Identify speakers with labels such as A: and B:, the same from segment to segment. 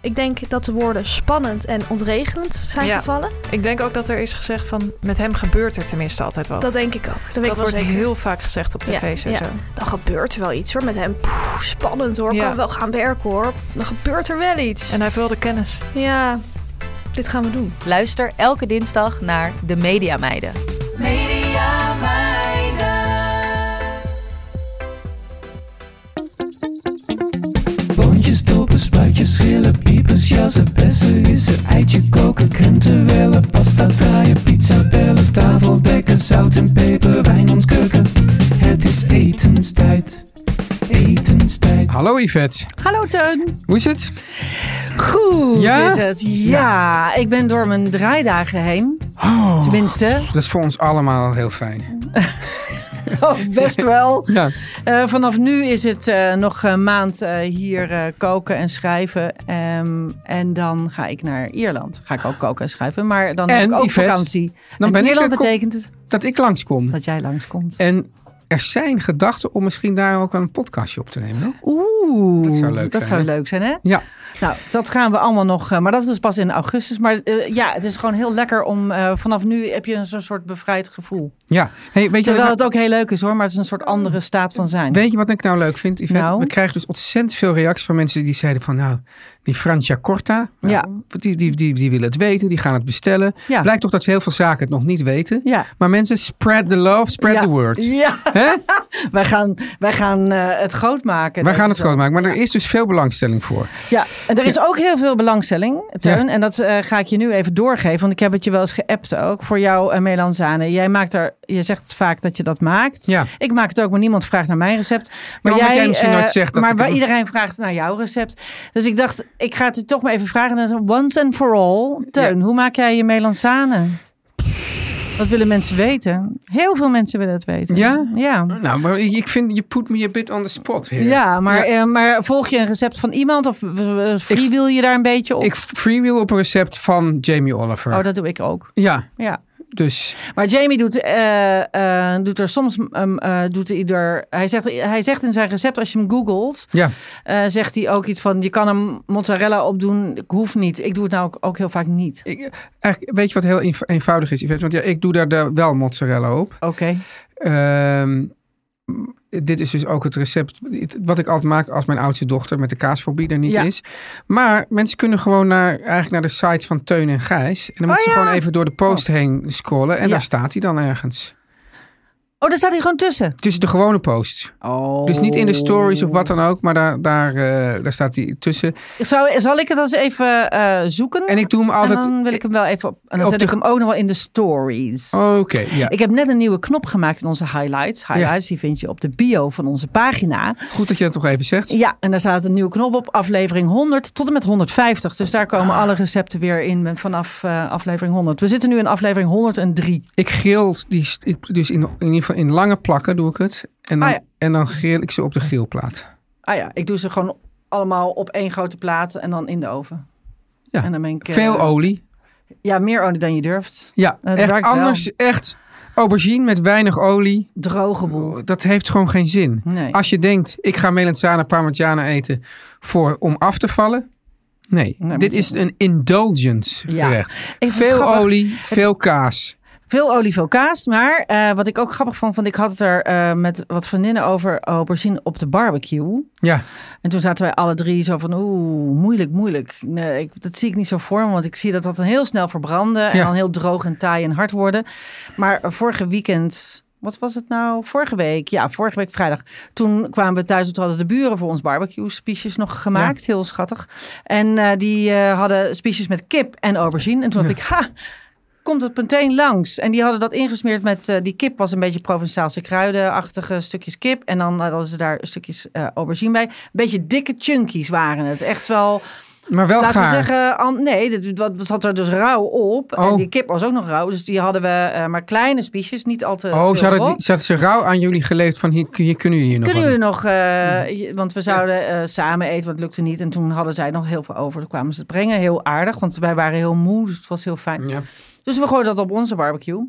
A: Ik denk dat de woorden spannend en ontregelend zijn
B: Ja.
A: gevallen.
B: Ik denk ook dat er is gezegd van... met hem gebeurt er tenminste altijd wat.
A: Dat denk ik ook. Dat, weet ik
B: Dat
A: wel
B: wordt
A: zeker.
B: heel vaak gezegd op
A: Ja,
B: tv's en
A: ja.
B: zo.
A: Dan gebeurt er wel iets hoor met hem. Poeh, spannend hoor.
B: Ja.
A: Kan wel gaan werken hoor. Dan gebeurt er wel iets.
B: En hij heeft wel de kennis.
A: Ja, dit gaan we doen.
C: Luister elke dinsdag naar De Media Meiden.
D: Boontjes, dopen, spuitjes, schillen, piepers, jassen, bessen, rissen, eitje koken, krenten wellen, pasta draaien, pizza bellen, tafel dekken, zout en peper, wijn ontkurken. Het is etenstijd, etenstijd.
E: Hallo Yvette,
F: Hallo Teun.
E: hoe is het?
F: Goed
E: Ja?
F: is het. Ja, ik ben door mijn draaidagen heen.
E: Oh.
F: Tenminste,
E: Dat is voor ons allemaal heel fijn.
F: oh, best wel.
E: Ja.
F: Eh, vanaf nu is het eh, nog een maand eh, hier eh, koken en schrijven. Ehm, en dan ga ik naar Ierland. Ga ik ook koken en schrijven. Maar dan heb
E: En,
F: ik ook
E: Yvette,
F: vakantie.
E: dan
F: en
E: ben ik
F: Ierland
E: de kop-
F: betekent het
E: Dat ik langskom.
F: dat jij langskomt.
E: En er zijn gedachten om misschien daar ook wel een podcastje op te nemen. hoor.
F: Oeh,
E: Dat zou leuk zijn,
F: zou
E: hè?
F: leuk zijn, hè?
E: Ja,
F: Nou, dat gaan we allemaal nog. eh, Maar dat is pas in augustus. Maar eh, ja, het is gewoon heel lekker om. eh, vanaf nu heb je een zo'n soort bevrijd gevoel.
E: ja. Hey, weet, je wat ik
F: Terwijl
E: nou,
F: het ook heel leuk is hoor, maar het is een soort andere staat van zijn.
E: weet je wat ik nou leuk vind, Yvette?
F: Nou?
E: We krijgen dus ontzettend veel reacties van mensen die zeiden van... Nou, die Francia Corta, nou, die, die, die, die willen het weten, die gaan het bestellen.
F: Ja.
E: Blijkt toch dat heel veel zaken het nog niet weten.
F: Ja.
E: Maar mensen, spread the love, spread
F: Ja.
E: the word.
F: Ja,
E: Hè?
F: wij gaan, wij gaan eh, het groot maken.
E: Wij
F: Dat
E: gaan
F: is
E: het groot maken, maar er is dus veel belangstelling voor.
F: Ja, en er is ook heel veel belangstelling, Teun.
E: Ja.
F: En dat eh, ga ik je nu even doorgeven. Want ik heb het je wel eens geappt ook. Voor jou, eh, Melanzane. Jij maakt er, je zegt vaak dat je dat maakt.
E: Ja.
F: Ik maak het ook, maar niemand vraagt naar mijn recept. Maar
E: omdat jij misschien
F: eh,
E: nooit zegt dat
F: Maar
E: ik
F: waar
E: het-
F: iedereen vraagt naar jouw recept. Dus ik dacht, ik ga het je toch maar even vragen. En dan once and for all. Teun, hoe maak jij je Melanzane? Wat willen mensen weten? Heel veel mensen willen het weten.
E: Ja?
F: Ja.
E: Nou, maar ik vind, je put me a bit on the spot here.
F: Ja, maar,
E: Ja.
F: eh, maar volg je een recept van iemand of eh, freewheel je daar een beetje op?
E: Ik freewheel op een recept van Jamie Oliver.
F: Oh, dat doe ik ook.
E: Ja,
F: Ja.
E: dus
F: Maar Jamie doet, eh, eh, doet er soms ehm, eh, doet ieder. Hij zegt, hij zegt in zijn recept, als je hem googelt,
E: ja.
F: eh, zegt hij ook iets van: je kan hem mozzarella opdoen. Ik hoef niet. Ik doe het nou ook, ook heel vaak niet.
E: Ik, eigenlijk, weet je wat heel eenv- eenvoudig is, Yvette? Want ja, ik doe daar de- wel mozzarella op.
F: Oké.
E: Ehm, dit is dus ook het recept wat ik altijd maak als mijn oudste dochter met de kaasfobie er niet
F: Ja.
E: is. Maar mensen kunnen gewoon naar, eigenlijk naar de site van Teun en Gijs. En dan moeten ze gewoon even door de post heen scrollen. En
F: Oh Ja.
E: daar staat hij dan ergens.
F: Oh, daar staat hij gewoon tussen.
E: Het is de gewone post.
F: Oh.
E: Dus niet in de stories of wat dan ook. Maar daar, daar, eh, daar staat hij tussen.
F: Zou, zal ik het eens even eh, zoeken?
E: En ik doe hem altijd...
F: En dan wil ik hem wel even op. En dan
E: Op
F: zet
E: de-
F: ik hem ook nog wel in de stories.
E: Oké, ja.
F: Ik heb net een nieuwe knop gemaakt in onze highlights. Highlights, die vind je op de bio van onze pagina.
E: Goed dat je dat toch even zegt.
F: Ja, en daar staat een nieuwe knop op, aflevering 100 tot en met 150. Dus daar komen alle recepten weer in vanaf eh, aflevering 100. We zitten nu in aflevering 103.
E: Ik grill die, st- ik- dus in, in ieder geval in lange plakken doe ik het. En dan,
F: Ah, ja.
E: en dan grill ik ze op de grillplaat.
F: Ah ja, ik doe ze gewoon allemaal op één grote plaat en dan in de oven.
E: Ja,
F: En dan ben ik, eh,
E: Veel olie.
F: Ja, meer olie dan je durft.
E: Ja,
F: het
E: echt
F: werkt wel.
E: anders. Echt aubergine met weinig olie.
F: Droge boel.
E: Dat heeft gewoon geen zin.
F: Nee.
E: Als je denkt, ik ga melanzana parmigiana eten voor, om af te vallen. Nee,
F: maar
E: dit
F: dat-
E: is een indulgence
F: Ja.
E: gerecht.
F: vind het
E: Veel
F: grappig.
E: olie, veel kaas.
F: Veel olievelkaas. Maar eh, wat ik ook grappig vond, want ik had het er eh, met wat vriendinnen over aubergine op de barbecue.
E: Ja,
F: En toen zaten wij alle drie zo van, oeh, moeilijk, moeilijk. Nee, ik, dat zie ik niet zo voor me, want ik zie dat dat dan heel snel verbranden. En
E: Ja.
F: dan heel droog en taai en hard worden. Maar vorige weekend, wat was het nou? Vorige week, ja, vorige week vrijdag. Toen kwamen we thuis en toen hadden de buren voor ons barbecue spiesjes nog gemaakt. Heel schattig. En eh, die eh, hadden spiesjes met kip en aubergine. En toen dacht ik, ha, komt het meteen langs. En die hadden dat ingesmeerd met... eh, die kip was een beetje Provençaalse kruidenachtige stukjes kip. En dan eh, hadden ze daar stukjes eh, aubergine bij. Een beetje dikke chunkies waren het. Echt wel...
E: maar wel
F: Dus laten
E: gaar.
F: we zeggen... an- nee, dit- wat wat zat er dus rauw op. En
E: Oh.
F: die kip was ook nog rauw. Dus die hadden we eh, maar kleine spiesjes. Niet al te
E: oh,
F: veel
E: ze hadden,
F: erop.
E: die- ze hadden ze rauw aan jullie geleefd van hier, hier kunnen jullie hier nog
F: Kunnen
E: wat
F: jullie nog, eh, je- want we zouden eh, samen eten, want het lukte niet. En toen hadden zij nog heel veel over. Toen kwamen ze het brengen, heel aardig, want wij waren heel moe, dus het was heel fijn.
E: doen. Ja.
F: Dus we gooiden dat op onze barbecue.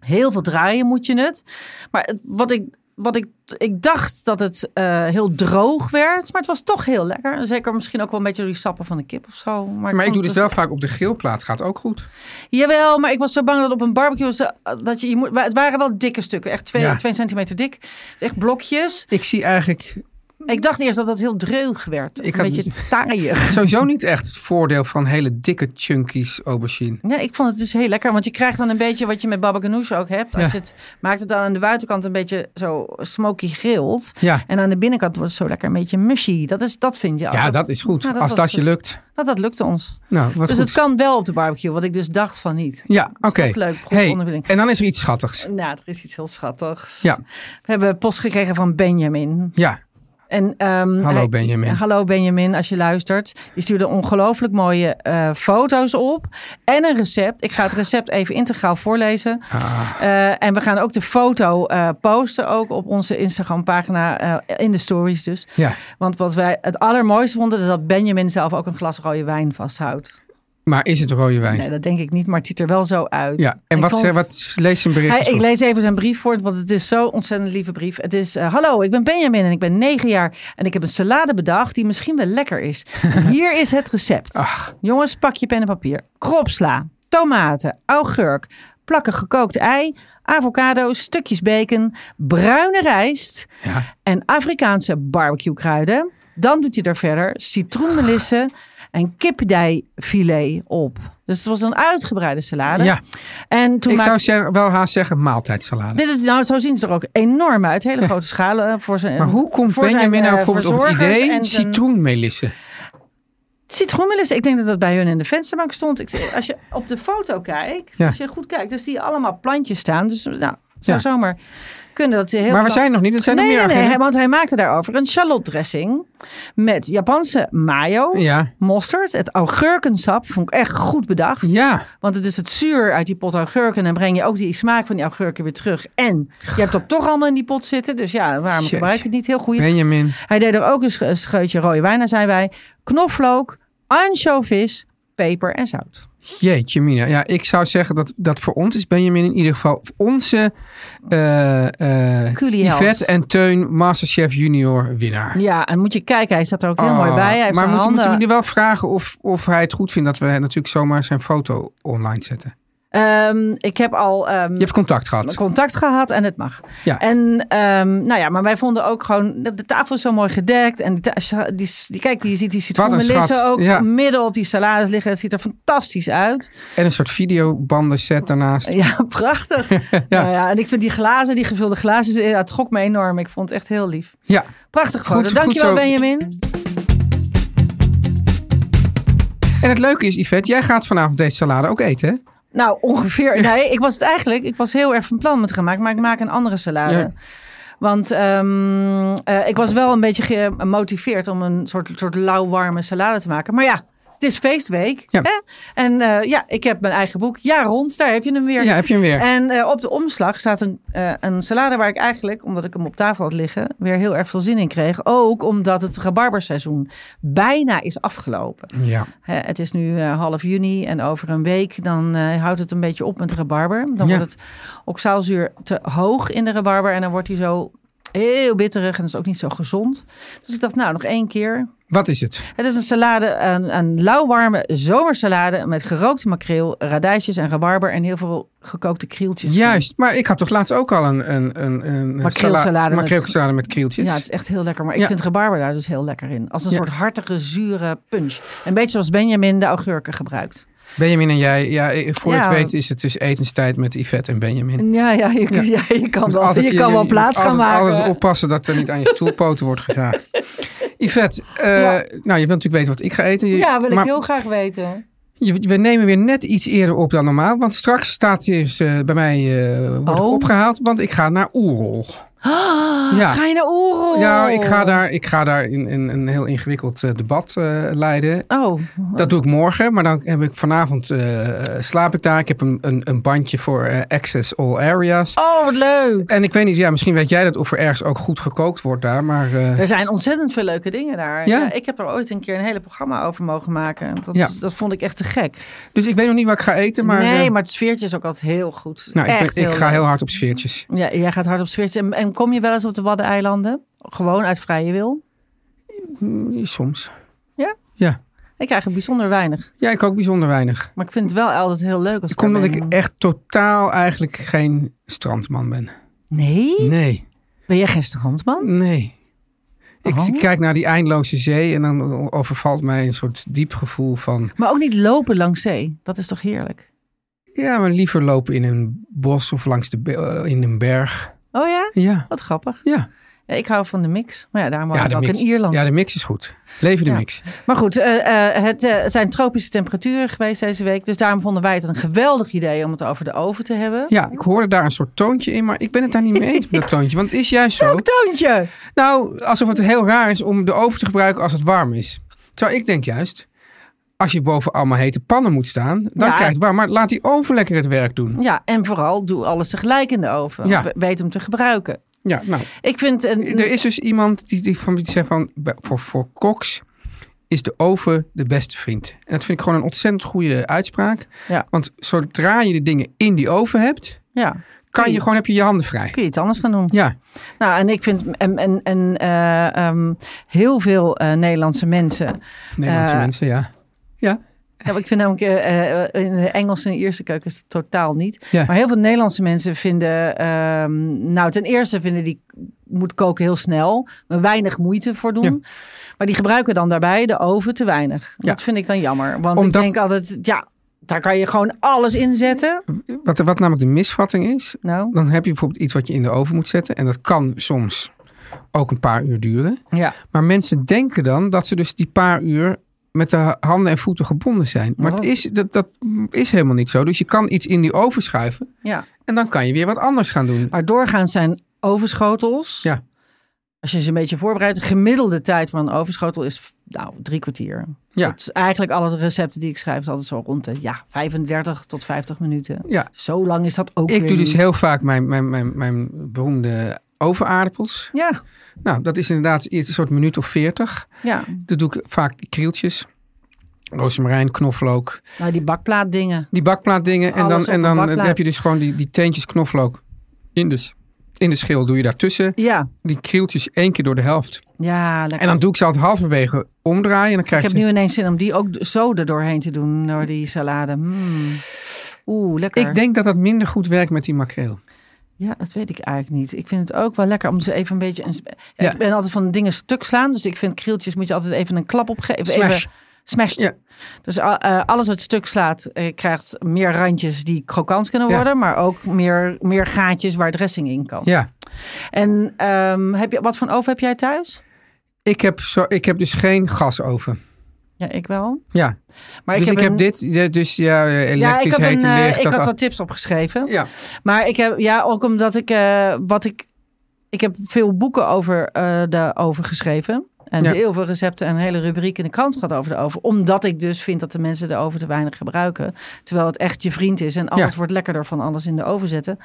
F: Heel veel draaien moet je het. Maar het- wat ik, wat ik, ik dacht dat het eh, heel droog werd, maar het was toch heel lekker. Zeker misschien ook wel een beetje door die sappen van de kip of zo.
E: Maar ik doe
F: vond het dus-
E: dit wel vaak op de grillplaat, gaat ook goed.
F: Jawel, maar ik was zo bang dat op een barbecue... ze- Dat je, je moet, maar het waren wel dikke stukken, echt twee,
E: Ja.
F: twee centimeter dik. Echt blokjes.
E: Ik zie eigenlijk
F: Ik dacht eerst dat dat heel dreug werd.
E: Ik
F: een
E: had-
F: beetje taaiig.
E: sowieso niet echt het voordeel van hele dikke chunkies aubergine.
F: Nee, ik vond het dus heel lekker. Want je krijgt dan een beetje wat je met baba ganoush ook hebt. Als
E: Ja.
F: je het maakt het dan aan de buitenkant een beetje zo smoky grild.
E: Ja,
F: En aan de binnenkant wordt het zo lekker een beetje mushy. Dat, is, Oh, dat vind je.
E: ja dat is goed.
F: Ja,
E: Als
F: was
E: dat je
F: goed.
E: lukt.
F: Dat, dat lukte ons.
E: Nou, wat
F: dus
E: goed.
F: het kan wel op de barbecue. Wat ik dus dacht van niet.
E: Ja, oké.
F: ook leuk, goed
E: Hey,
F: ondervinding.
E: en dan is er iets schattigs.
F: Nou, er is iets heel schattigs.
E: Ja.
F: We hebben post gekregen van Benjamin.
E: Ja,
F: En, ehm,
E: Hallo, Benjamin.
F: Hallo Benjamin, als je luistert. Je stuurde ongelooflijk mooie eh, foto's op. En een recept. Ik ga het recept even integraal voorlezen.
E: Ah.
F: Eh, en we gaan ook de foto eh, posten. Ook op onze Instagram pagina. in de stories dus.
E: ja.
F: Want wat wij het allermooiste vonden. Is dat Benjamin zelf ook een glas rode wijn vasthoudt.
E: Maar is het rode wijn?
F: Nee, dat denk ik niet. Maar het ziet er wel zo uit.
E: Ja, en
F: Ik
E: wat,
F: vond-
E: ze- wat lees een bericht?
F: hij, ik lees even zijn brief voor, want het is zo'n ontzettend lieve brief. Het is, eh, hallo, ik ben Benjamin en ik ben 9 jaar en ik heb een salade bedacht die misschien wel lekker is. En hier is het recept. Jongens, pak je pen en papier. Kropsla, tomaten, augurk, plakken gekookt ei, avocado, stukjes bacon, bruine rijst en Afrikaanse barbecue kruiden. Dan doet hij er verder citroenmelissen en kippendijfilet op. Dus het was een uitgebreide salade.
E: Ja.
F: En toen
E: Ik
F: maakte-
E: zou zeggen, wel haast zeggen maaltijdsalade.
F: dit is, nou, zo zien ze er ook enorm uit. Hele grote schalen voor zijn.
E: maar hoe komt
F: voor zijn,
E: Benjamin
F: eh,
E: nou bijvoorbeeld op het
F: verzorgers
E: idee
F: en zijn-
E: citroenmelissen?
F: Citroenmelissen. Ik denk dat dat bij hun in de vensterbank stond. Ik, als je op de foto kijkt,
E: Ja.
F: als je goed kijkt, dan zie je allemaal plantjes staan. Dus nou, zou
E: Ja.
F: zomaar kunnen dat ze heel.
E: Maar we
F: knap-
E: zijn nog niet, er zijn
F: nee,
E: nog meer
F: nee, nee,
E: agenten.
F: want hij maakte daarover een shallot dressing met Japanse mayo,
E: Ja.
F: mosterd, het augurkensap. Vond ik echt goed bedacht.
E: Ja,
F: Want het is het zuur uit die pot augurken. En dan breng je ook die smaak van die augurken weer terug. En je hebt dat toch allemaal in die pot zitten. Dus ja, waarom
E: Jeetje.
F: gebruik je het niet? Heel goed.
E: Benjamin.
F: Hij deed er ook een sch- een scheutje rode wijn aan, zijn wij. Knoflook, anchovis, peper en zout.
E: Jeetje, Mina. Ja, ik zou zeggen dat, dat voor ons is Benjamin in ieder geval onze eh eh
F: Culi
E: Yvette
F: Helst.
E: en Teun Masterchef Junior winnaar.
F: Ja, en moet je kijken, hij staat er ook heel
E: Oh,
F: mooi bij. Hij heeft
E: maar
F: zijn
E: moeten, moeten we
F: handen...
E: nu wel vragen of, of hij het goed vindt dat we natuurlijk zomaar zijn foto online zetten?
F: Ehm, ik heb al ehm,
E: Je hebt contact gehad.
F: contact gehad en het mag.
E: Ja.
F: En ehm, nou ja, maar wij vonden ook gewoon de tafel is zo mooi gedekt en die, ta- die, die kijk, die, je ziet die citroenmelissen
E: schat.
F: ook
E: Ja.
F: midden op die salades liggen. Het ziet er fantastisch uit.
E: En een soort videobanden set daarnaast.
F: Ja, prachtig. Nou ja, en ik vind die glazen, die gevulde glazen, ja, het gok me enorm. Ik vond het echt heel lief.
E: Ja,
F: Prachtig
E: Goed-
F: foto.
E: goed
F: Dankjewel
E: zo.
F: Benjamin.
E: en het leuke is, Yvette, jij gaat vanavond deze salade ook eten. hè?
F: Nou, ongeveer. Nee, ik was het eigenlijk. Ik was heel erg van plan met gaan maken, maar ik maak een andere salade.
E: Ja.
F: Want ehm, eh, ik was wel een beetje gemotiveerd om een soort, soort lauwwarme salade te maken. Maar ja, het is feestweek.
E: Ja.
F: Hè? En eh, ja, ik heb mijn eigen boek. Ja, rond, daar heb je hem weer.
E: Ja, heb je hem weer.
F: En eh, op de omslag staat een, eh, een salade waar ik eigenlijk, omdat ik hem op tafel had liggen, weer heel erg veel zin in kreeg. Ook omdat het rabarberseizoen bijna is afgelopen.
E: Ja.
F: Hè, het is nu eh, half juni en over een week dan eh, houdt het een beetje op met de rabarber. Dan
E: Ja.
F: wordt het oxaalzuur te hoog in de rabarber en dan wordt hij zo Heel bitterig en dat is ook niet zo gezond. Dus ik dacht, nou, nog één keer.
E: Wat is het?
F: Het is een salade, een, een lauwwarme zomersalade met gerookte makreel, radijsjes en rabarber en heel veel gekookte krieltjes.
E: Juist, maar ik had toch laatst ook al een, een, een, een
F: Makreelsalade
E: sala-
F: met-
E: makreelsalade met krieltjes.
F: Ja, het is echt heel lekker. Maar ik
E: Ja.
F: vind rabarber daar dus heel lekker in. Als een
E: Ja.
F: soort hartige, zure punch. Een beetje zoals Benjamin de augurken gebruikt.
E: Benjamin en jij, ja, eh, voor
F: Ja.
E: het weet is het dus etenstijd met Yvette en Benjamin.
F: Ja, ja, je, ja. je
E: Dus
F: kan, wel, je kan wel plaats gaan
E: altijd,
F: maken.
E: Alles oppassen dat er niet aan je stoelpoten wordt gezaagd. Yvette, eh,
F: Ja.
E: nou je wilt natuurlijk weten wat ik ga eten. Je-
F: Ja, wil ik
E: maar
F: heel graag weten.
E: je- we nemen weer net iets eerder op dan normaal. Want straks staat hij eens, eh, bij mij eh, wordt
F: Oh.
E: opgehaald. Want ik ga naar Oerol. ja.
F: Ga je naar Oerol?
E: Ja, ik
F: Oh.
E: ga daar, ik ga daar in, in, een heel ingewikkeld eh, debat eh, leiden.
F: Oh,
E: Dat doe ik morgen, maar dan heb ik vanavond eh, slaap ik daar. Ik heb een, een, een bandje voor eh, Access All Areas.
F: oh, wat leuk.
E: En ik weet niet, ja, misschien weet jij dat of er ergens ook goed gekookt wordt daar. Maar eh,
F: Er zijn ontzettend veel leuke dingen daar.
E: Ja?
F: Ja. ik heb er ooit een keer een hele programma over mogen maken. Dat,
E: Ja.
F: dat vond ik echt te gek.
E: dus ik weet nog niet wat ik ga eten. Maar,
F: nee,
E: eh,
F: maar het sfeertje is ook altijd heel goed.
E: nou, ik,
F: echt
E: ben- ik
F: heel
E: ga
F: leuk.
E: heel hard op sfeertjes.
F: Ja, jij gaat hard op sfeertje. En, en kom je wel eens op de Waddeneilanden? Gewoon uit vrije wil? Mm,
E: Soms.
F: Ja?
E: Ja.
F: Ik krijg er bijzonder weinig.
E: Ja, ik ook bijzonder weinig.
F: Maar ik vind het wel altijd heel leuk als ik
E: Ik kom
F: daar
E: dat ik
F: ben.
E: echt totaal eigenlijk geen strandman ben.
F: Nee?
E: Nee,
F: Ben jij geen strandman?
E: nee. Ik
F: Oh.
E: kijk naar die eindloze zee en dan overvalt mij een soort diep gevoel van...
F: Maar ook niet lopen langs zee. Dat is toch heerlijk?
E: Ja, maar liever lopen in een bos of langs de, be- eh, in een berg.
F: Oh ja?
E: Ja,
F: Wat grappig.
E: ja.
F: Ja, ik hou van de mix. Maar ja, daarom woon
E: ja,
F: ik ook
E: mix.
F: in Ierland.
E: Ja, de mix is goed. Leven de
F: Ja.
E: mix.
F: Maar goed, eh, eh, het eh, zijn tropische temperaturen geweest deze week. Dus daarom vonden wij het een geweldig idee om het over de oven te hebben.
E: Ja, ik hoorde daar een soort toontje in, maar ik ben het daar niet mee eens met dat toontje. Want het is juist zo.
F: Ook toontje!
E: Nou, alsof het heel raar is om de oven te gebruiken als het warm is. Terwijl ik denk juist, als je boven allemaal hete pannen moet staan, dan
F: Ja.
E: krijg je het warm. Maar laat die oven lekker het werk doen.
F: Ja, en vooral doe alles tegelijk in de oven.
E: Ja.
F: We- Weet hem te gebruiken.
E: Ja, nou.
F: Ik vind een.
E: Er is dus iemand die, die, van, die zei van, bij- voor, voor koks is de oven de beste vriend. En dat vind ik gewoon een ontzettend goede uitspraak.
F: Ja.
E: Want zodra je de dingen in die oven hebt,
F: Ja,
E: kan je gewoon, heb je je handen vrij.
F: kun je iets anders gaan doen.
E: Ja,
F: Nou, en ik vind. En, en, en eh, ehm, heel veel eh, Nederlandse mensen.
E: Nederlandse
F: Eh,
E: mensen, ja. Ja,
F: Ja, maar ik vind namelijk eh, eh, in de Engelse en Ierse keuken is het totaal niet.
E: Ja.
F: Maar heel veel Nederlandse mensen vinden, ehm, nou ten eerste vinden die moet koken heel snel, maar weinig moeite voor doen.
E: Ja.
F: Maar die gebruiken dan daarbij de oven te weinig.
E: Ja.
F: Dat vind ik dan jammer, want
E: Omdat-
F: ik denk altijd, ja, daar kan je gewoon alles in zetten.
E: wat, wat namelijk de misvatting is,
F: Nou,
E: dan heb je bijvoorbeeld iets wat je in de oven moet zetten. En dat kan soms ook een paar uur duren.
F: ja,
E: Maar mensen denken dan dat ze dus die paar uur met de handen en voeten gebonden zijn. Maar het
F: Wat?
E: is, dat, dat is helemaal niet zo. Dus je kan iets in die oven schuiven
F: ja.
E: en dan kan je weer wat anders gaan doen.
F: Maar doorgaans zijn overschotels.
E: Ja.
F: Als je ze een beetje voorbereidt, de gemiddelde tijd van een overschotel is nou drie kwartier.
E: Ja.
F: Dat is eigenlijk alle recepten die ik schrijf, is altijd zo rond de ja, 35 tot 50 minuten.
E: Ja.
F: Zo lang is dat ook
E: Ik
F: weer
E: doe dus
F: niet.
E: heel vaak mijn, mijn, mijn, mijn beroemde ovenaardappels.
F: Ja,
E: Nou, dat is inderdaad iets, een soort minuut of veertig.
F: ja.
E: Dat doe ik vaak krieltjes, rozemarijn, knoflook.
F: Nou, die bakplaatdingen.
E: Die bakplaatdingen. En
F: Alles
E: dan,
F: op
E: en
F: een
E: dan
F: bakplaat.
E: heb je dus gewoon die, die teentjes knoflook in de, s- in de schil. Doe je daartussen.
F: Ja,
E: Die krieltjes één keer door de helft.
F: ja, lekker.
E: En dan doe ik ze altijd halverwege omdraaien. En dan
F: ik
E: krijg
F: heb
E: je...
F: nu ineens zin om die ook zo er doorheen te doen, door die salade. Mm. Oeh, lekker.
E: Ik denk dat dat minder goed werkt met die makreel.
F: Ja, dat weet ik eigenlijk niet. Ik vind het ook wel lekker om ze even een beetje... Een... sp- Ja,
E: Ja.
F: Ik ben altijd van dingen stuk slaan. Dus ik vind krieltjes moet je altijd even een klap opgeven.
E: Smash.
F: Even smashed.
E: Ja.
F: Dus a- eh, alles wat stuk slaat eh, krijgt meer randjes die krokant kunnen
E: Ja.
F: worden. Maar ook meer, meer gaatjes waar dressing in kan.
E: Ja.
F: En ehm, heb je, wat voor een oven heb jij thuis?
E: Ik heb, zo, ik heb dus geen gasoven.
F: Ja, ik wel.
E: Ja.
F: Maar
E: dus ik heb
F: een-
E: dit. ja, Dus ja, eh,
F: Ja, ik,
E: elektrisch
F: heb
E: heet
F: een,
E: en
F: eh,
E: licht.
F: ik
E: dat,
F: had wat tips opgeschreven.
E: Ja.
F: Maar ik heb, ja, ook omdat ik, eh, wat ik, ik heb veel boeken over eh de oven geschreven. En
E: Ja.
F: heel veel recepten en een hele rubriek in de krant gaat over de oven. Omdat ik dus vind dat de mensen de oven te weinig gebruiken. Terwijl het echt je vriend is en alles
E: Ja.
F: wordt lekkerder van alles in de oven zetten.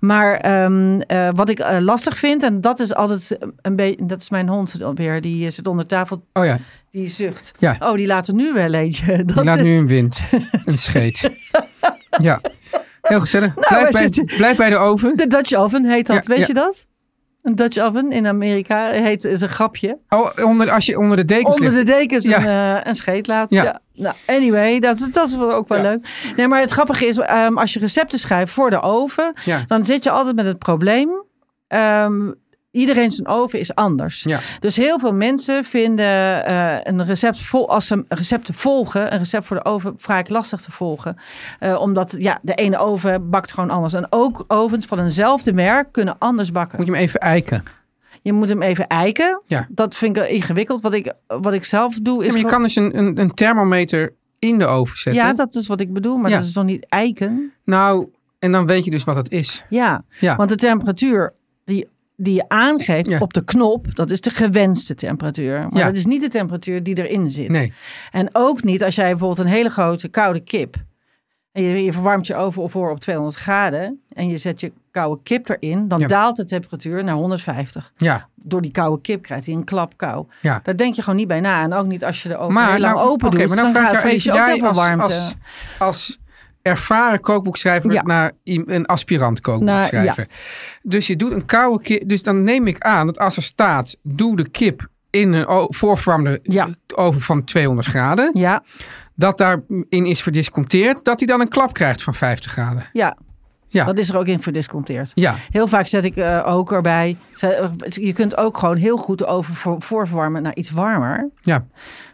F: Maar ehm, eh, wat ik eh, lastig vind, en dat is altijd een beetje, dat is mijn hond weer, die eh, zit onder tafel,
E: Oh ja,
F: die zucht.
E: Ja.
F: Oh, die laat er nu wel eentje.
E: je
F: Dat
E: laat
F: is...
E: nu een wind. Een scheet. ja. Heel gezellig.
F: wij
E: blijf, bij,
F: Nou, zitten-
E: blijf bij de oven.
F: De Dutch oven heet dat,
E: Ja,
F: weet
E: ja.
F: je dat? Een Dutch oven in Amerika heet is een grapje.
E: Oh, onder, als je onder de dekens
F: Onder de
E: ligt.
F: dekens
E: Ja.
F: een, eh, een scheet laat.
E: Ja.
F: Ja. Nou, anyway, dat, dat is wel ook wel
E: Ja.
F: leuk. Nee, maar het grappige is, ehm, als je recepten schrijft voor de oven,
E: Ja.
F: dan zit je altijd met het probleem. ehm, iedereen zijn oven is anders.
E: Ja.
F: Dus heel veel mensen vinden eh, een recept vol, als ze recepten volgen, een recept voor de oven vaak lastig te volgen. Eh, omdat ja, de ene oven bakt gewoon anders. En ook ovens van eenzelfde merk kunnen anders bakken.
E: Moet je hem even eiken.
F: Je moet hem even eiken.
E: Ja.
F: Dat vind ik ingewikkeld. Wat ik, wat ik zelf doe
E: Ja, maar
F: is.
E: je
F: gewoon-
E: kan dus een, een, een thermometer in de oven zetten.
F: ja, dat is wat ik bedoel. Maar
E: Ja.
F: dat is nog niet eiken.
E: Nou, en dan weet je dus wat het is.
F: Ja.
E: Ja.
F: Want de temperatuur die, die je aangeeft
E: Ja.
F: op de knop, dat is de gewenste temperatuur. Maar
E: Ja.
F: dat is niet de temperatuur die erin zit.
E: Nee.
F: En ook niet als jij bijvoorbeeld een hele grote koude kip. En je, je verwarmt je oven of voor op 200 graden. En je zet je koude kip erin. Dan
E: Ja.
F: daalt de temperatuur naar 150.
E: Ja.
F: Door die koude kip krijgt hij een klap kou.
E: Ja.
F: Daar denk je gewoon niet bij na. En ook niet als je de oven
E: Maar
F: heel lang
E: nou,
F: open
E: oké,
F: doet.
E: maar dan
F: dan
E: vraag
F: gaat
E: ik jou
F: verlies
E: even
F: je ook heel
E: jij
F: veel
E: als,
F: warmte.
E: als, als ervaren kookboekschrijver
F: Ja.
E: naar i- een aspirant kookboekschrijver. Dus je doet een koude kip. Dus dan neem ik aan dat als er staat, doe de kip in een o- voorverwarmde
F: Ja.
E: oven van 200 graden.
F: Ja,
E: Dat daarin is verdisconteerd. Dat hij dan een klap krijgt van 50 graden.
F: ja.
E: Ja.
F: Dat is er ook in verdisconteerd.
E: Ja,
F: Heel vaak zet ik eh, ook erbij. ze- eh, Je kunt ook gewoon heel goed de oven voor, voorverwarmen naar iets warmer.
E: ja.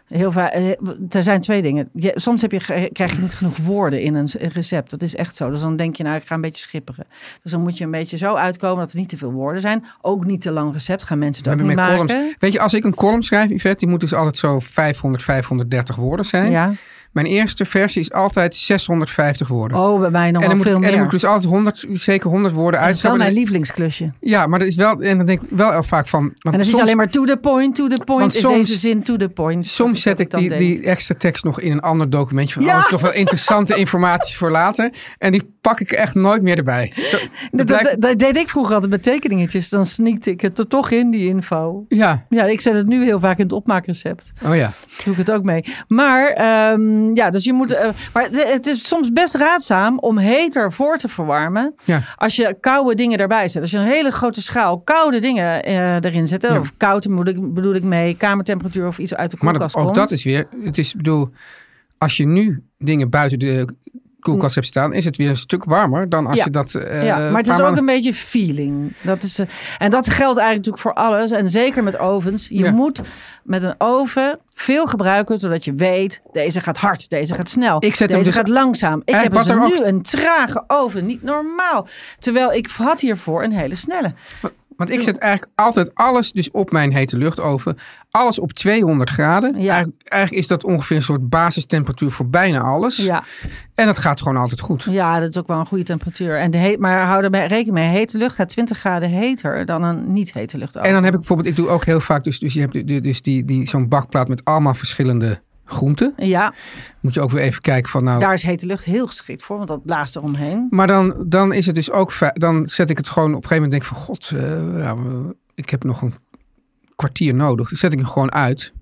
F: Heel vaak, eh, er zijn twee dingen. Je- soms heb je, ge- krijg je niet genoeg woorden in een s- een recept. Dat is echt zo. Dus dan denk je, nou, ik ga een beetje schipperen. Dus dan moet je een beetje zo uitkomen dat er niet te veel woorden zijn. Ook niet te lang recept. Gaan mensen
E: We
F: dat
E: hebben
F: niet
E: met
F: maken.
E: columns. Weet je, als ik een column schrijf, Yvette, die moet dus altijd zo 500, 530 woorden zijn.
F: Ja.
E: Mijn eerste versie is altijd 650 woorden.
F: Oh, bij mij nog
E: en
F: wel
E: dan, moet ik,
F: veel
E: en
F: meer. Ah,
E: dan moet ik dus altijd 100, zeker 100 woorden
F: dat is wel
E: uitschrijven.
F: mijn
E: En
F: lievelingsklusje.
E: dan- Ja, maar dat is wel, en dan denk ik wel heel vaak van. Want
F: En dan zit
E: soms,
F: je alleen maar to the point, to the point.
E: Want
F: Is
E: soms-
F: deze zin to the point. Dat
E: soms
F: is
E: zet
F: wat
E: ik
F: dan
E: die,
F: denk.
E: die extra tekst nog in een ander documentje. Van,
F: Ja.
E: oh, dat is toch wel interessante informatie voor later. En die pak ik echt nooit meer erbij. Zo, dat
F: Dat, dat,
E: blijkt-
F: dat deed ik vroeger altijd met tekeningetjes. Dan sneakte ik het er toch in, die info.
E: ja,
F: Ja, ik zet het nu heel vaak in het opmaakrecept.
E: oh ja.
F: doe ik het ook mee. Maar ehm, ja, dus je moet. eh, maar de- het is soms best raadzaam om heter voor te verwarmen.
E: Ja.
F: Als je koude dingen erbij zet. Als je een hele grote schaal koude dingen eh, erin zet. Of koud bedoel ik, bedoel ik mee, kamertemperatuur of iets uit de
E: Maar
F: koelkast
E: dat, ook
F: komt.
E: dat is weer, het is, ik bedoel, als je nu dingen buiten de koelkast hebt staan, is het weer een stuk warmer dan als
F: Mm. Ja.
E: je dat. eh,
F: ja, maar het
E: paar
F: is ook
E: maanden-
F: een beetje feeling. Dat is, eh, en dat geldt eigenlijk natuurlijk voor alles. En zeker met ovens. Je
E: Ja.
F: moet met een oven veel gebruiken. Zodat je weet, deze gaat hard, deze gaat snel.
E: Ik zet hem
F: deze
E: dus-
F: gaat langzaam. Ik
E: En
F: heb
E: wat
F: dus
E: er ook-
F: nu een trage oven. Niet normaal. Terwijl ik had hiervoor een hele snelle.
E: Want ik zet eigenlijk altijd alles dus op mijn hete luchtoven. Alles op 200 graden.
F: Ja.
E: Eigenlijk, eigenlijk is dat ongeveer een soort basistemperatuur voor bijna alles.
F: Ja,
E: En dat gaat gewoon altijd goed.
F: ja, dat is ook wel een goede temperatuur. En de heet, maar hou er mee- rekening mee. Hete lucht gaat 20 graden heter dan een niet hete lucht.
E: En dan heb ik bijvoorbeeld, ik doe ook heel vaak, dus, dus je hebt de- de- dus die, die, zo'n bakplaat met allemaal verschillende groenten.
F: Ja,
E: Moet je ook weer even kijken van nou.
F: daar is hete lucht heel geschikt voor. Want dat blaast eromheen.
E: Maar dan, dan is het dus ook, fi- dan zet ik het gewoon op een gegeven moment denk ik van god, eh, nou, ik heb nog een kwartier nodig. Dan zet ik hem gewoon uit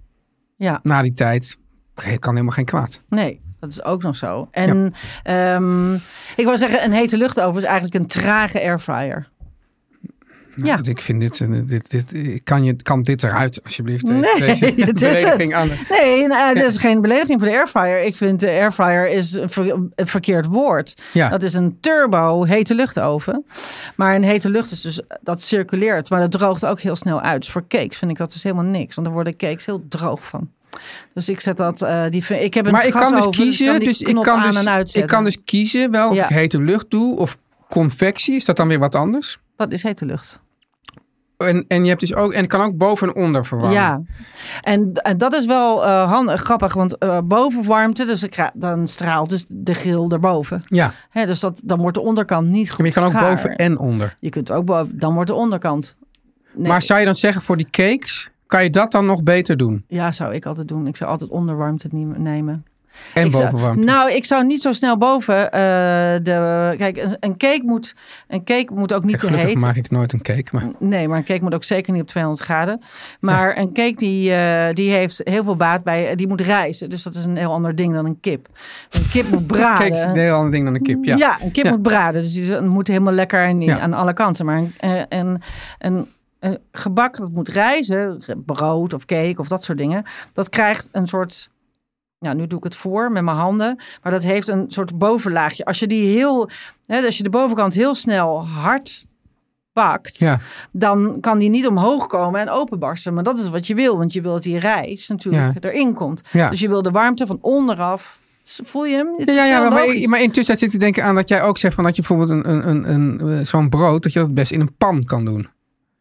F: Ja.
E: na die tijd. Het kan helemaal geen kwaad.
F: Nee, dat is ook nog zo. En ehm, ik wil zeggen, een hete luchtoven is eigenlijk een trage airfryer. ja.
E: Ik vind dit, een- dit, dit, kan, je, kan dit eruit, alsjeblieft? Deze,
F: Nee,
E: deze
F: dit is
E: belediging
F: het.
E: aan de-
F: Nee, nou, dat is geen belediging voor de airfryer. Ik vind de airfryer is een, ver- een verkeerd woord.
E: Ja.
F: Dat is een turbo hete luchtoven. Maar een hete lucht is dus, dat circuleert. Maar dat droogt ook heel snel uit. Dus voor cakes vind ik dat dus helemaal niks. Want daar worden cakes heel droog van. Dus ik zet dat, eh, die, ik heb een
E: Maar ik kan dus
F: gasoven, ik
E: kiezen,
F: die
E: dus ik
F: knop
E: kan
F: aan en
E: dus, ik
F: uitzetten.
E: kan dus kiezen wel of
F: Ja.
E: ik hete lucht doe of convectie. Is dat dan weer wat anders?
F: Dat is hete lucht.
E: En, en je hebt dus ook, en het kan ook boven en onder verwarmen.
F: Ja, en, en dat is wel eh, handig, grappig, want eh, boven warmte, dus ik ra- dan straalt dus de grill erboven.
E: Ja, maar
F: Hè, dus dat, dan wordt de onderkant niet goed
E: je kan ook
F: gaar.
E: boven en onder.
F: Je kunt ook boven, dan wordt de onderkant. Nee,
E: Maar zou je dan zeggen voor die cakes, kan je dat dan nog beter doen?
F: Ja, zou ik altijd doen. Ik zou altijd onderwarmte nie- nemen.
E: En
F: Ik zou-
E: bovenwarmte?
F: Nou, ik zou niet zo snel boven eh, de... Kijk, een, een, cake moet, een cake moet ook niet
E: Kijk,
F: te
E: gelukkig
F: heet.
E: maak ik nooit een cake. Maar,
F: Nee, maar een cake moet ook zeker niet op 200 graden. Maar een cake die, eh, die heeft heel veel baat bij, die moet rijzen. Dus dat is een heel ander ding dan een kip. Een kip moet braden.
E: cake is een heel ander ding dan een kip, ja.
F: een kip
E: Ja.
F: moet braden. Dus die moet helemaal lekker en
E: Ja.
F: aan alle kanten. Maar een, eh, een, een eh, gebak dat moet rijzen, brood of cake of dat soort dingen, dat krijgt een soort. Nou, nu doe ik het voor met mijn handen. Maar dat heeft een soort bovenlaagje. Als je die heel. Hè, als je de bovenkant heel snel hard pakt,
E: Ja,
F: dan kan die niet omhoog komen en openbarsten. Maar dat is wat je wil, want je wil dat die rijst natuurlijk erin komt.
E: ja.
F: Dus je wil de warmte van onderaf. Voel je hem? Het
E: Ja,
F: is
E: ja, ja
F: heel
E: maar,
F: logisch.
E: maar intussen zit ik te denken aan dat jij ook zegt van dat je bijvoorbeeld een, een, een, een, eh, zo'n brood, dat je dat best in een pan kan doen.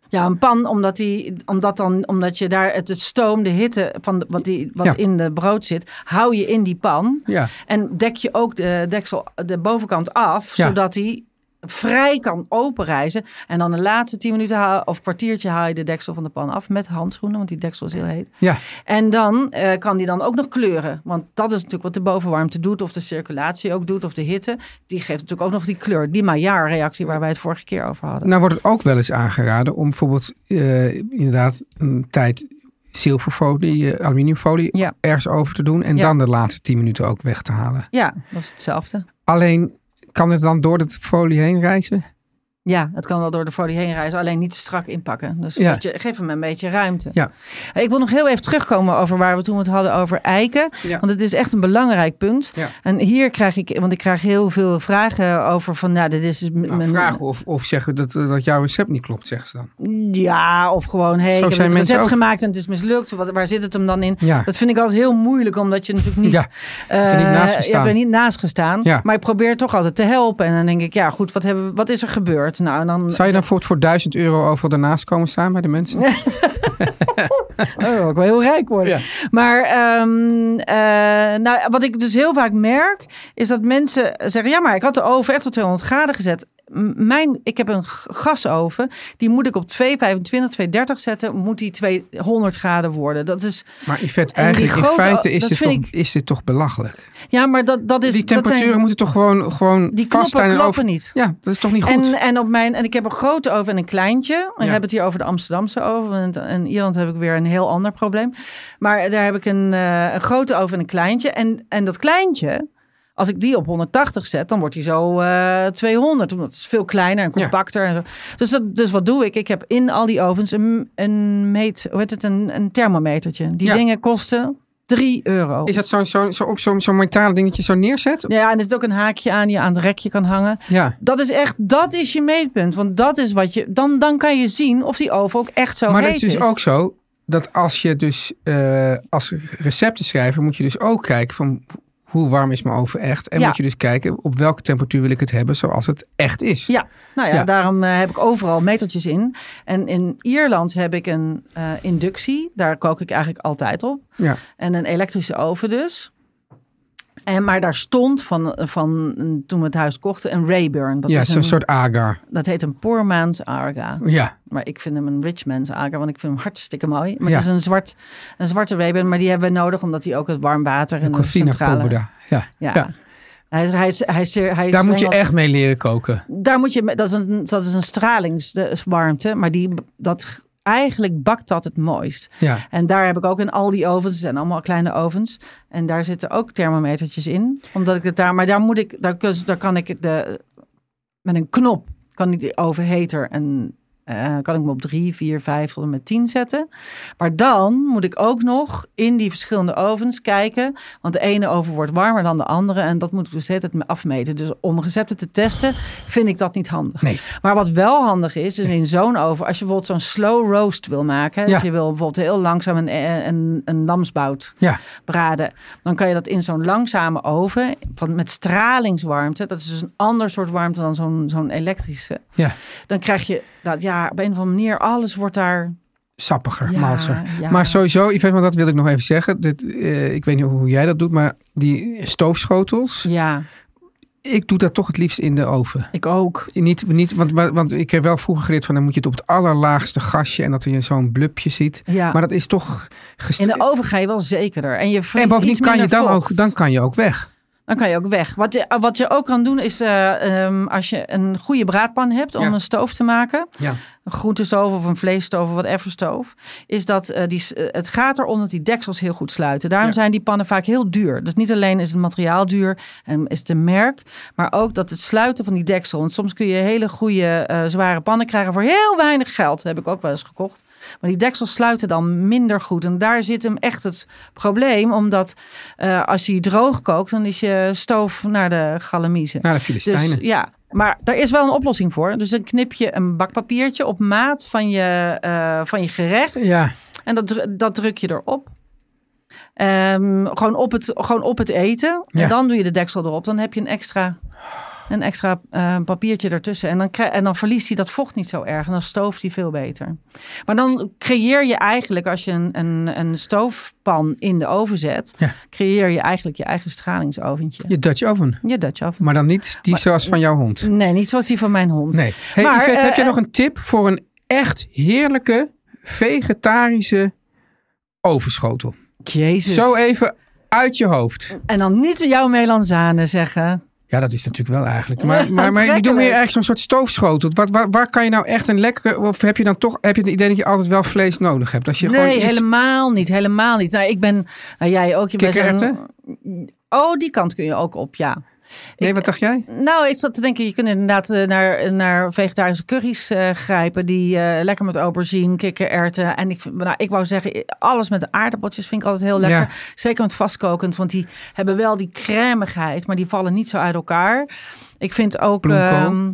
F: Ja, een pan, omdat, die, omdat, dan, omdat je daar het, het stoom, de hitte van de- wat, die, wat
E: Ja.
F: in de brood zit, hou je in die pan.
E: Ja.
F: En dek je ook de deksel, de bovenkant af,
E: Ja.
F: zodat die vrij kan openrijzen. En dan de laatste tien minuten haal- of kwartiertje haal je de deksel van de pan af met handschoenen, want die deksel is heel heet.
E: Ja,
F: En dan eh, kan die dan ook nog kleuren. Want dat is natuurlijk wat de bovenwarmte doet, of de circulatie ook doet, of de hitte. Die geeft natuurlijk ook nog die kleur, die Maillard-reactie waar wij het vorige keer over hadden.
E: nou wordt het ook wel eens aangeraden om bijvoorbeeld eh, inderdaad een tijd zilverfolie, eh, aluminiumfolie
F: Ja.
E: ergens over te doen en
F: Ja.
E: dan de laatste tien minuten ook weg te halen.
F: Ja, dat is hetzelfde.
E: Alleen kan het dan door de folie heen reizen?
F: Ja, het kan wel door de folie heen reizen, alleen niet te strak inpakken. Dus
E: Ja.
F: moet je, geef hem een beetje ruimte.
E: Ja.
F: Hey, Ik wil nog heel even terugkomen over waar we toen het hadden over eiken.
E: Ja.
F: Want het is echt een belangrijk punt.
E: Ja.
F: En hier krijg ik, want ik krijg heel veel vragen over van, nou, dit is m-
E: Nou,
F: mijn-
E: vragen of, of zeggen dat, eh, dat jouw recept niet klopt, zeggen ze dan.
F: Ja, of gewoon, hé, hey, ik
E: Zo
F: heb
E: zijn
F: het
E: mensen
F: recept
E: ook.
F: gemaakt en het is mislukt. Wat, waar zit het hem dan in?
E: Ja.
F: Dat vind ik altijd heel moeilijk, omdat je natuurlijk niet...
E: Ja,
F: eh,
E: er niet naast
F: je
E: gestaan.
F: hebt er niet naast gestaan.
E: Ja.
F: Maar ik probeer toch altijd te helpen. En dan denk ik, ja goed, wat, hebben, we- wat is er gebeurd? Nou, en dan
E: Zou je dan voor, voor 1000 euro overal daarnaast komen staan bij de mensen?
F: Oh, ik wil heel rijk worden.
E: Ja.
F: Maar ehm, eh, nou, wat ik dus heel vaak merk, is dat mensen zeggen: ja, maar ik had de oven echt op 200 graden gezet. M- Mijn, ik heb een g- gasoven, die moet ik op 225, 230 zetten, moet die 200 graden worden. Dat is,
E: Maar Yvette,
F: En die
E: eigenlijk in
F: grote-
E: feite is
F: dat
E: dit, toch,
F: vind
E: is dit toch belachelijk?
F: ja, maar dat, Dus dat is.
E: die
F: dat
E: temperaturen
F: zijn-
E: moeten toch gewoon, gewoon
F: Die
E: vast
F: knoppen
E: zijn en
F: kloppen
E: over...
F: niet.
E: Ja, dat is toch niet goed?
F: En, eh, en, op mijn, en ik heb een grote oven en een kleintje. En
E: Ja.
F: ik heb het hier over de Amsterdamse oven. Want in Ierland heb ik weer een heel ander probleem. Maar daar heb ik een, eh, een grote oven en een kleintje. En, en dat kleintje, als ik die op 180 zet, dan wordt die zo eh 200. Omdat het is veel kleiner en
E: Ja.
F: compacter. En zo. Dus, dat, dus wat doe ik? Ik heb in al die ovens een, een meet, hoe heet het, een, een thermometertje. Die
E: Ja.
F: dingen kosten 3 euro.
E: Is dat zo'n zo, zo, op zo'n zo'n metalen dingetje zo neerzet?
F: Ja, en er zit ook een haakje aan die je aan het rekje kan hangen.
E: Ja.
F: Dat is echt, dat is je meetpunt. Want dat is wat je, dan, dan kan je zien of die oven ook echt zo
E: Maar dat
F: heet
E: is dus ook zo dat als je dus eh, als receptenschrijver moet je dus ook kijken van hoe warm is mijn oven echt? En
F: Ja.
E: moet je dus kijken op welke temperatuur wil ik het hebben zoals het echt is.
F: Ja, nou ja,
E: Ja.
F: daarom eh, heb ik overal metertjes in. En in Ierland heb ik een eh, inductie. Daar kook ik eigenlijk altijd op.
E: Ja.
F: En een elektrische oven dus. En, maar daar stond van, van toen we het huis kochten een Rayburn. Dat,
E: Ja,
F: is
E: zo'n
F: een,
E: soort agar.
F: dat heet een poor man's Arga.
E: Ja,
F: Maar ik vind hem een rich man's ager, want ik vind hem hartstikke mooi. Maar
E: Ja.
F: het is een, zwart, een zwarte Rayburn, maar die hebben we nodig omdat hij ook het warm water en de
E: Cortina
F: centrale...
E: Poboda. Ja.
F: Ja.
E: Ja.
F: Hij, is- hij, is- hij, is- hij is
E: Daar moet je
F: helemaal-
E: echt mee leren koken.
F: Daar moet je... mee- Dat is een, dat is een stralingswarmte, maar die, dat, eigenlijk bakt dat het mooist.
E: Ja.
F: En daar heb ik ook in al die ovens, het zijn allemaal kleine ovens. En daar zitten ook thermometertjes in. Omdat ik het daar, maar daar moet ik, daar, kun, daar kan ik de, met een knop, kan ik die oven heter en eh, kan ik hem op 3, 4, 5 tot en met 10 zetten. Maar dan moet ik ook nog in die verschillende ovens kijken. Want de ene oven wordt warmer dan de andere. En dat moet ik dus de hele tijd afmeten. Dus om recepten te testen vind ik dat niet handig.
E: Nee.
F: Maar wat wel handig is, is in zo'n oven, als je bijvoorbeeld zo'n slow roast wil maken. hè,
E: Ja.
F: Dus je wil bijvoorbeeld heel langzaam een, eh, een, een lamsbout
E: Ja.
F: braden. Dan kan je dat in zo'n langzame oven van, met stralingswarmte. Dat is dus een ander soort warmte dan zo'n zo'n elektrische.
E: Ja.
F: Dan krijg je dat, ja, op een of andere manier, alles wordt daar.
E: sappiger,
F: Ja,
E: malser.
F: ja.
E: Maar sowieso, Yvette, want dat wil ik nog even zeggen. Dit, eh, ik weet niet hoe jij dat doet, maar die stoofschotels.
F: Ja,
E: Ik doe dat toch het liefst in de oven.
F: ik ook.
E: Niet, niet, want, wa- want ik heb wel vroeger geleerd van dan moet je het op het allerlaagste gasje en dat je zo'n blubje ziet.
F: Ja.
E: Maar dat is toch
F: In
E: gesteld.
F: de oven ga je wel zekerder. En, je
E: En
F: vries
E: bovendien
F: iets
E: kan je
F: minder
E: dan
F: vocht.
E: ook, dan kan je ook weg.
F: Dan kan je ook weg. Wat je, wat je ook kan doen is eh, ehm, als je een goede braadpan hebt om
E: Ja.
F: een stoof te maken.
E: Ja.
F: Een groentestoof of een vleesstoof of whatever stoof. Is dat eh, die, s- eh, het gaat erom dat die deksels heel goed sluiten. Daarom
E: Ja.
F: zijn die pannen vaak heel duur. Dus niet alleen is het materiaal duur en is het een merk. Maar ook dat het sluiten van die deksel. Want soms kun je hele goede eh, zware pannen krijgen voor heel weinig geld. heb ik ook wel eens gekocht. Maar die deksels sluiten dan minder goed. En daar zit hem echt het probleem. Omdat eh, als je die droog kookt, dan is je stoof naar de galamiezen.
E: Naar de Filistijnen.
F: Dus ja, maar daar is wel een oplossing voor. Dus dan knip je een bakpapiertje op maat van je, eh, van je gerecht.
E: ja.
F: En dat, dru- dat druk je erop. Ehm, gewoon, op het, gewoon op het eten.
E: Ja.
F: En dan doe je de deksel erop. Dan heb je een extra, een extra eh, papiertje ertussen. En dan, krij- en dan verliest hij dat vocht niet zo erg. En dan stooft hij veel beter. Maar dan creëer je eigenlijk, als je een, een, een stoofpan in de oven zet,
E: Ja.
F: creëer je eigenlijk je eigen stralingsoventje.
E: Je Dutch oven.
F: Je Dutch oven.
E: Maar dan niet die zoals van jouw hond.
F: Nee, niet zoals die van mijn hond.
E: Nee. Hey,
F: Maar,
E: Yvette,
F: eh,
E: heb jij
F: eh,
E: nog een tip voor een echt heerlijke vegetarische ovenschotel?
F: Jezus.
E: Zo even uit je hoofd.
F: En dan niet jouw melanzane zeggen.
E: Ja, dat is natuurlijk wel eigenlijk. Maar, maar, maar ik bedoel
F: Aantrekkelijk.
E: meer eigenlijk zo'n soort stoofschotel. Wat, waar, waar kan je nou echt een lekkere... Of heb je dan toch heb je het idee dat je altijd wel vlees nodig hebt? Als je
F: Nee,
E: gewoon iets,
F: helemaal niet. Helemaal niet. Nou, ik ben... Nou, jij ook. Je bent zo'n-
E: Kikkererwten?
F: Oh, die kant kun je ook op, ja.
E: Nee, wat dacht jij?
F: Nou, ik zat te denken, je kunt inderdaad eh, naar, naar vegetarische curry's eh, grijpen. Die eh, lekker met aubergine, kikkererwten. En ik, vind- nou, ik wou zeggen, alles met aardappeltjes vind ik altijd heel lekker.
E: Ja.
F: Zeker met vastkokend, want die hebben wel die cremigheid. Maar die vallen niet zo uit elkaar. Ik vind ook...
E: Bloemkool.
F: ehm,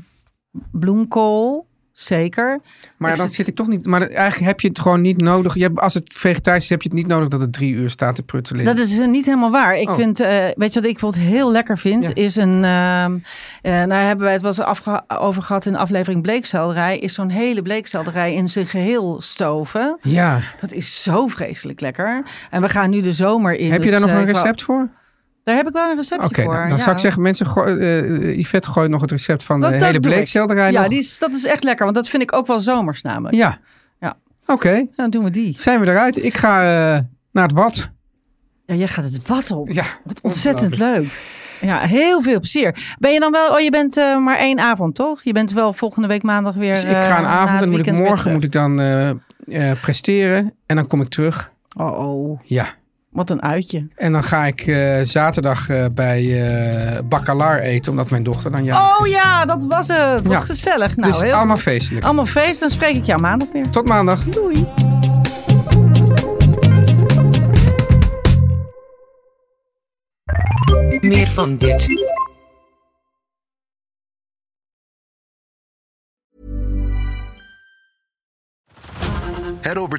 F: bloemkool, zeker.
E: Maar
F: Ik
E: dan
F: zit-
E: zit ik toch niet... Maar eigenlijk heb je het gewoon niet nodig. Je hebt- als het vegetarisch is, heb je het niet nodig dat het drie uur staat te pruttelen.
F: Dat is eh, niet helemaal waar. Ik
E: Oh.
F: vind, eh, weet je wat ik bijvoorbeeld heel lekker vind?
E: Ja.
F: Is een, ehm eh, nou hebben wij het wel eens afge- over gehad in aflevering bleekselderij. Is zo'n hele bleekselderij in zijn geheel stoven.
E: Ja.
F: Dat is zo vreselijk lekker. En we gaan nu de zomer in.
E: heb je
F: dus,
E: daar nog
F: eh,
E: een
F: ik wou-
E: recept voor?
F: daar heb ik wel een receptje
E: Oké,
F: voor.
E: dan, dan zou ik
F: ja.
E: zeggen, mensen, gooi, eh, Yvette gooit nog het recept van
F: Dat-
E: de
F: dat
E: hele
F: doe ik.
E: bleekselderij
F: Ja,
E: nog.
F: die is, dat is echt lekker. Want dat vind ik ook wel zomers namelijk.
E: Ja.
F: Ja.
E: Oké,
F: Nou, dan doen we die.
E: zijn we eruit. Ik ga eh, naar het wat.
F: Ja, jij gaat het wat op.
E: Ja,
F: Wat ontzettend leuk. Ja, heel veel plezier. Ben je dan wel, oh je bent eh, maar één avond toch? Je bent wel volgende week maandag weer. eh,
E: Dus ik ga een avond en moet ik morgen moet
F: moeten.
E: ik dan eh, eh, presteren. En dan kom ik terug.
F: Oh, oh,
E: Ja.
F: wat een uitje.
E: En dan ga ik eh, zaterdag eh, bij eh Bacalar eten, omdat mijn dochter dan jarig
F: Oh
E: is.
F: ja, dat was het. Wat
E: Ja.
F: gezellig. Nou,
E: dus
F: heel
E: allemaal feestelijk.
F: allemaal feest. Dan spreek ik jou maandag weer.
E: Tot maandag.
F: Doei.
G: Meer van dit.
H: Head over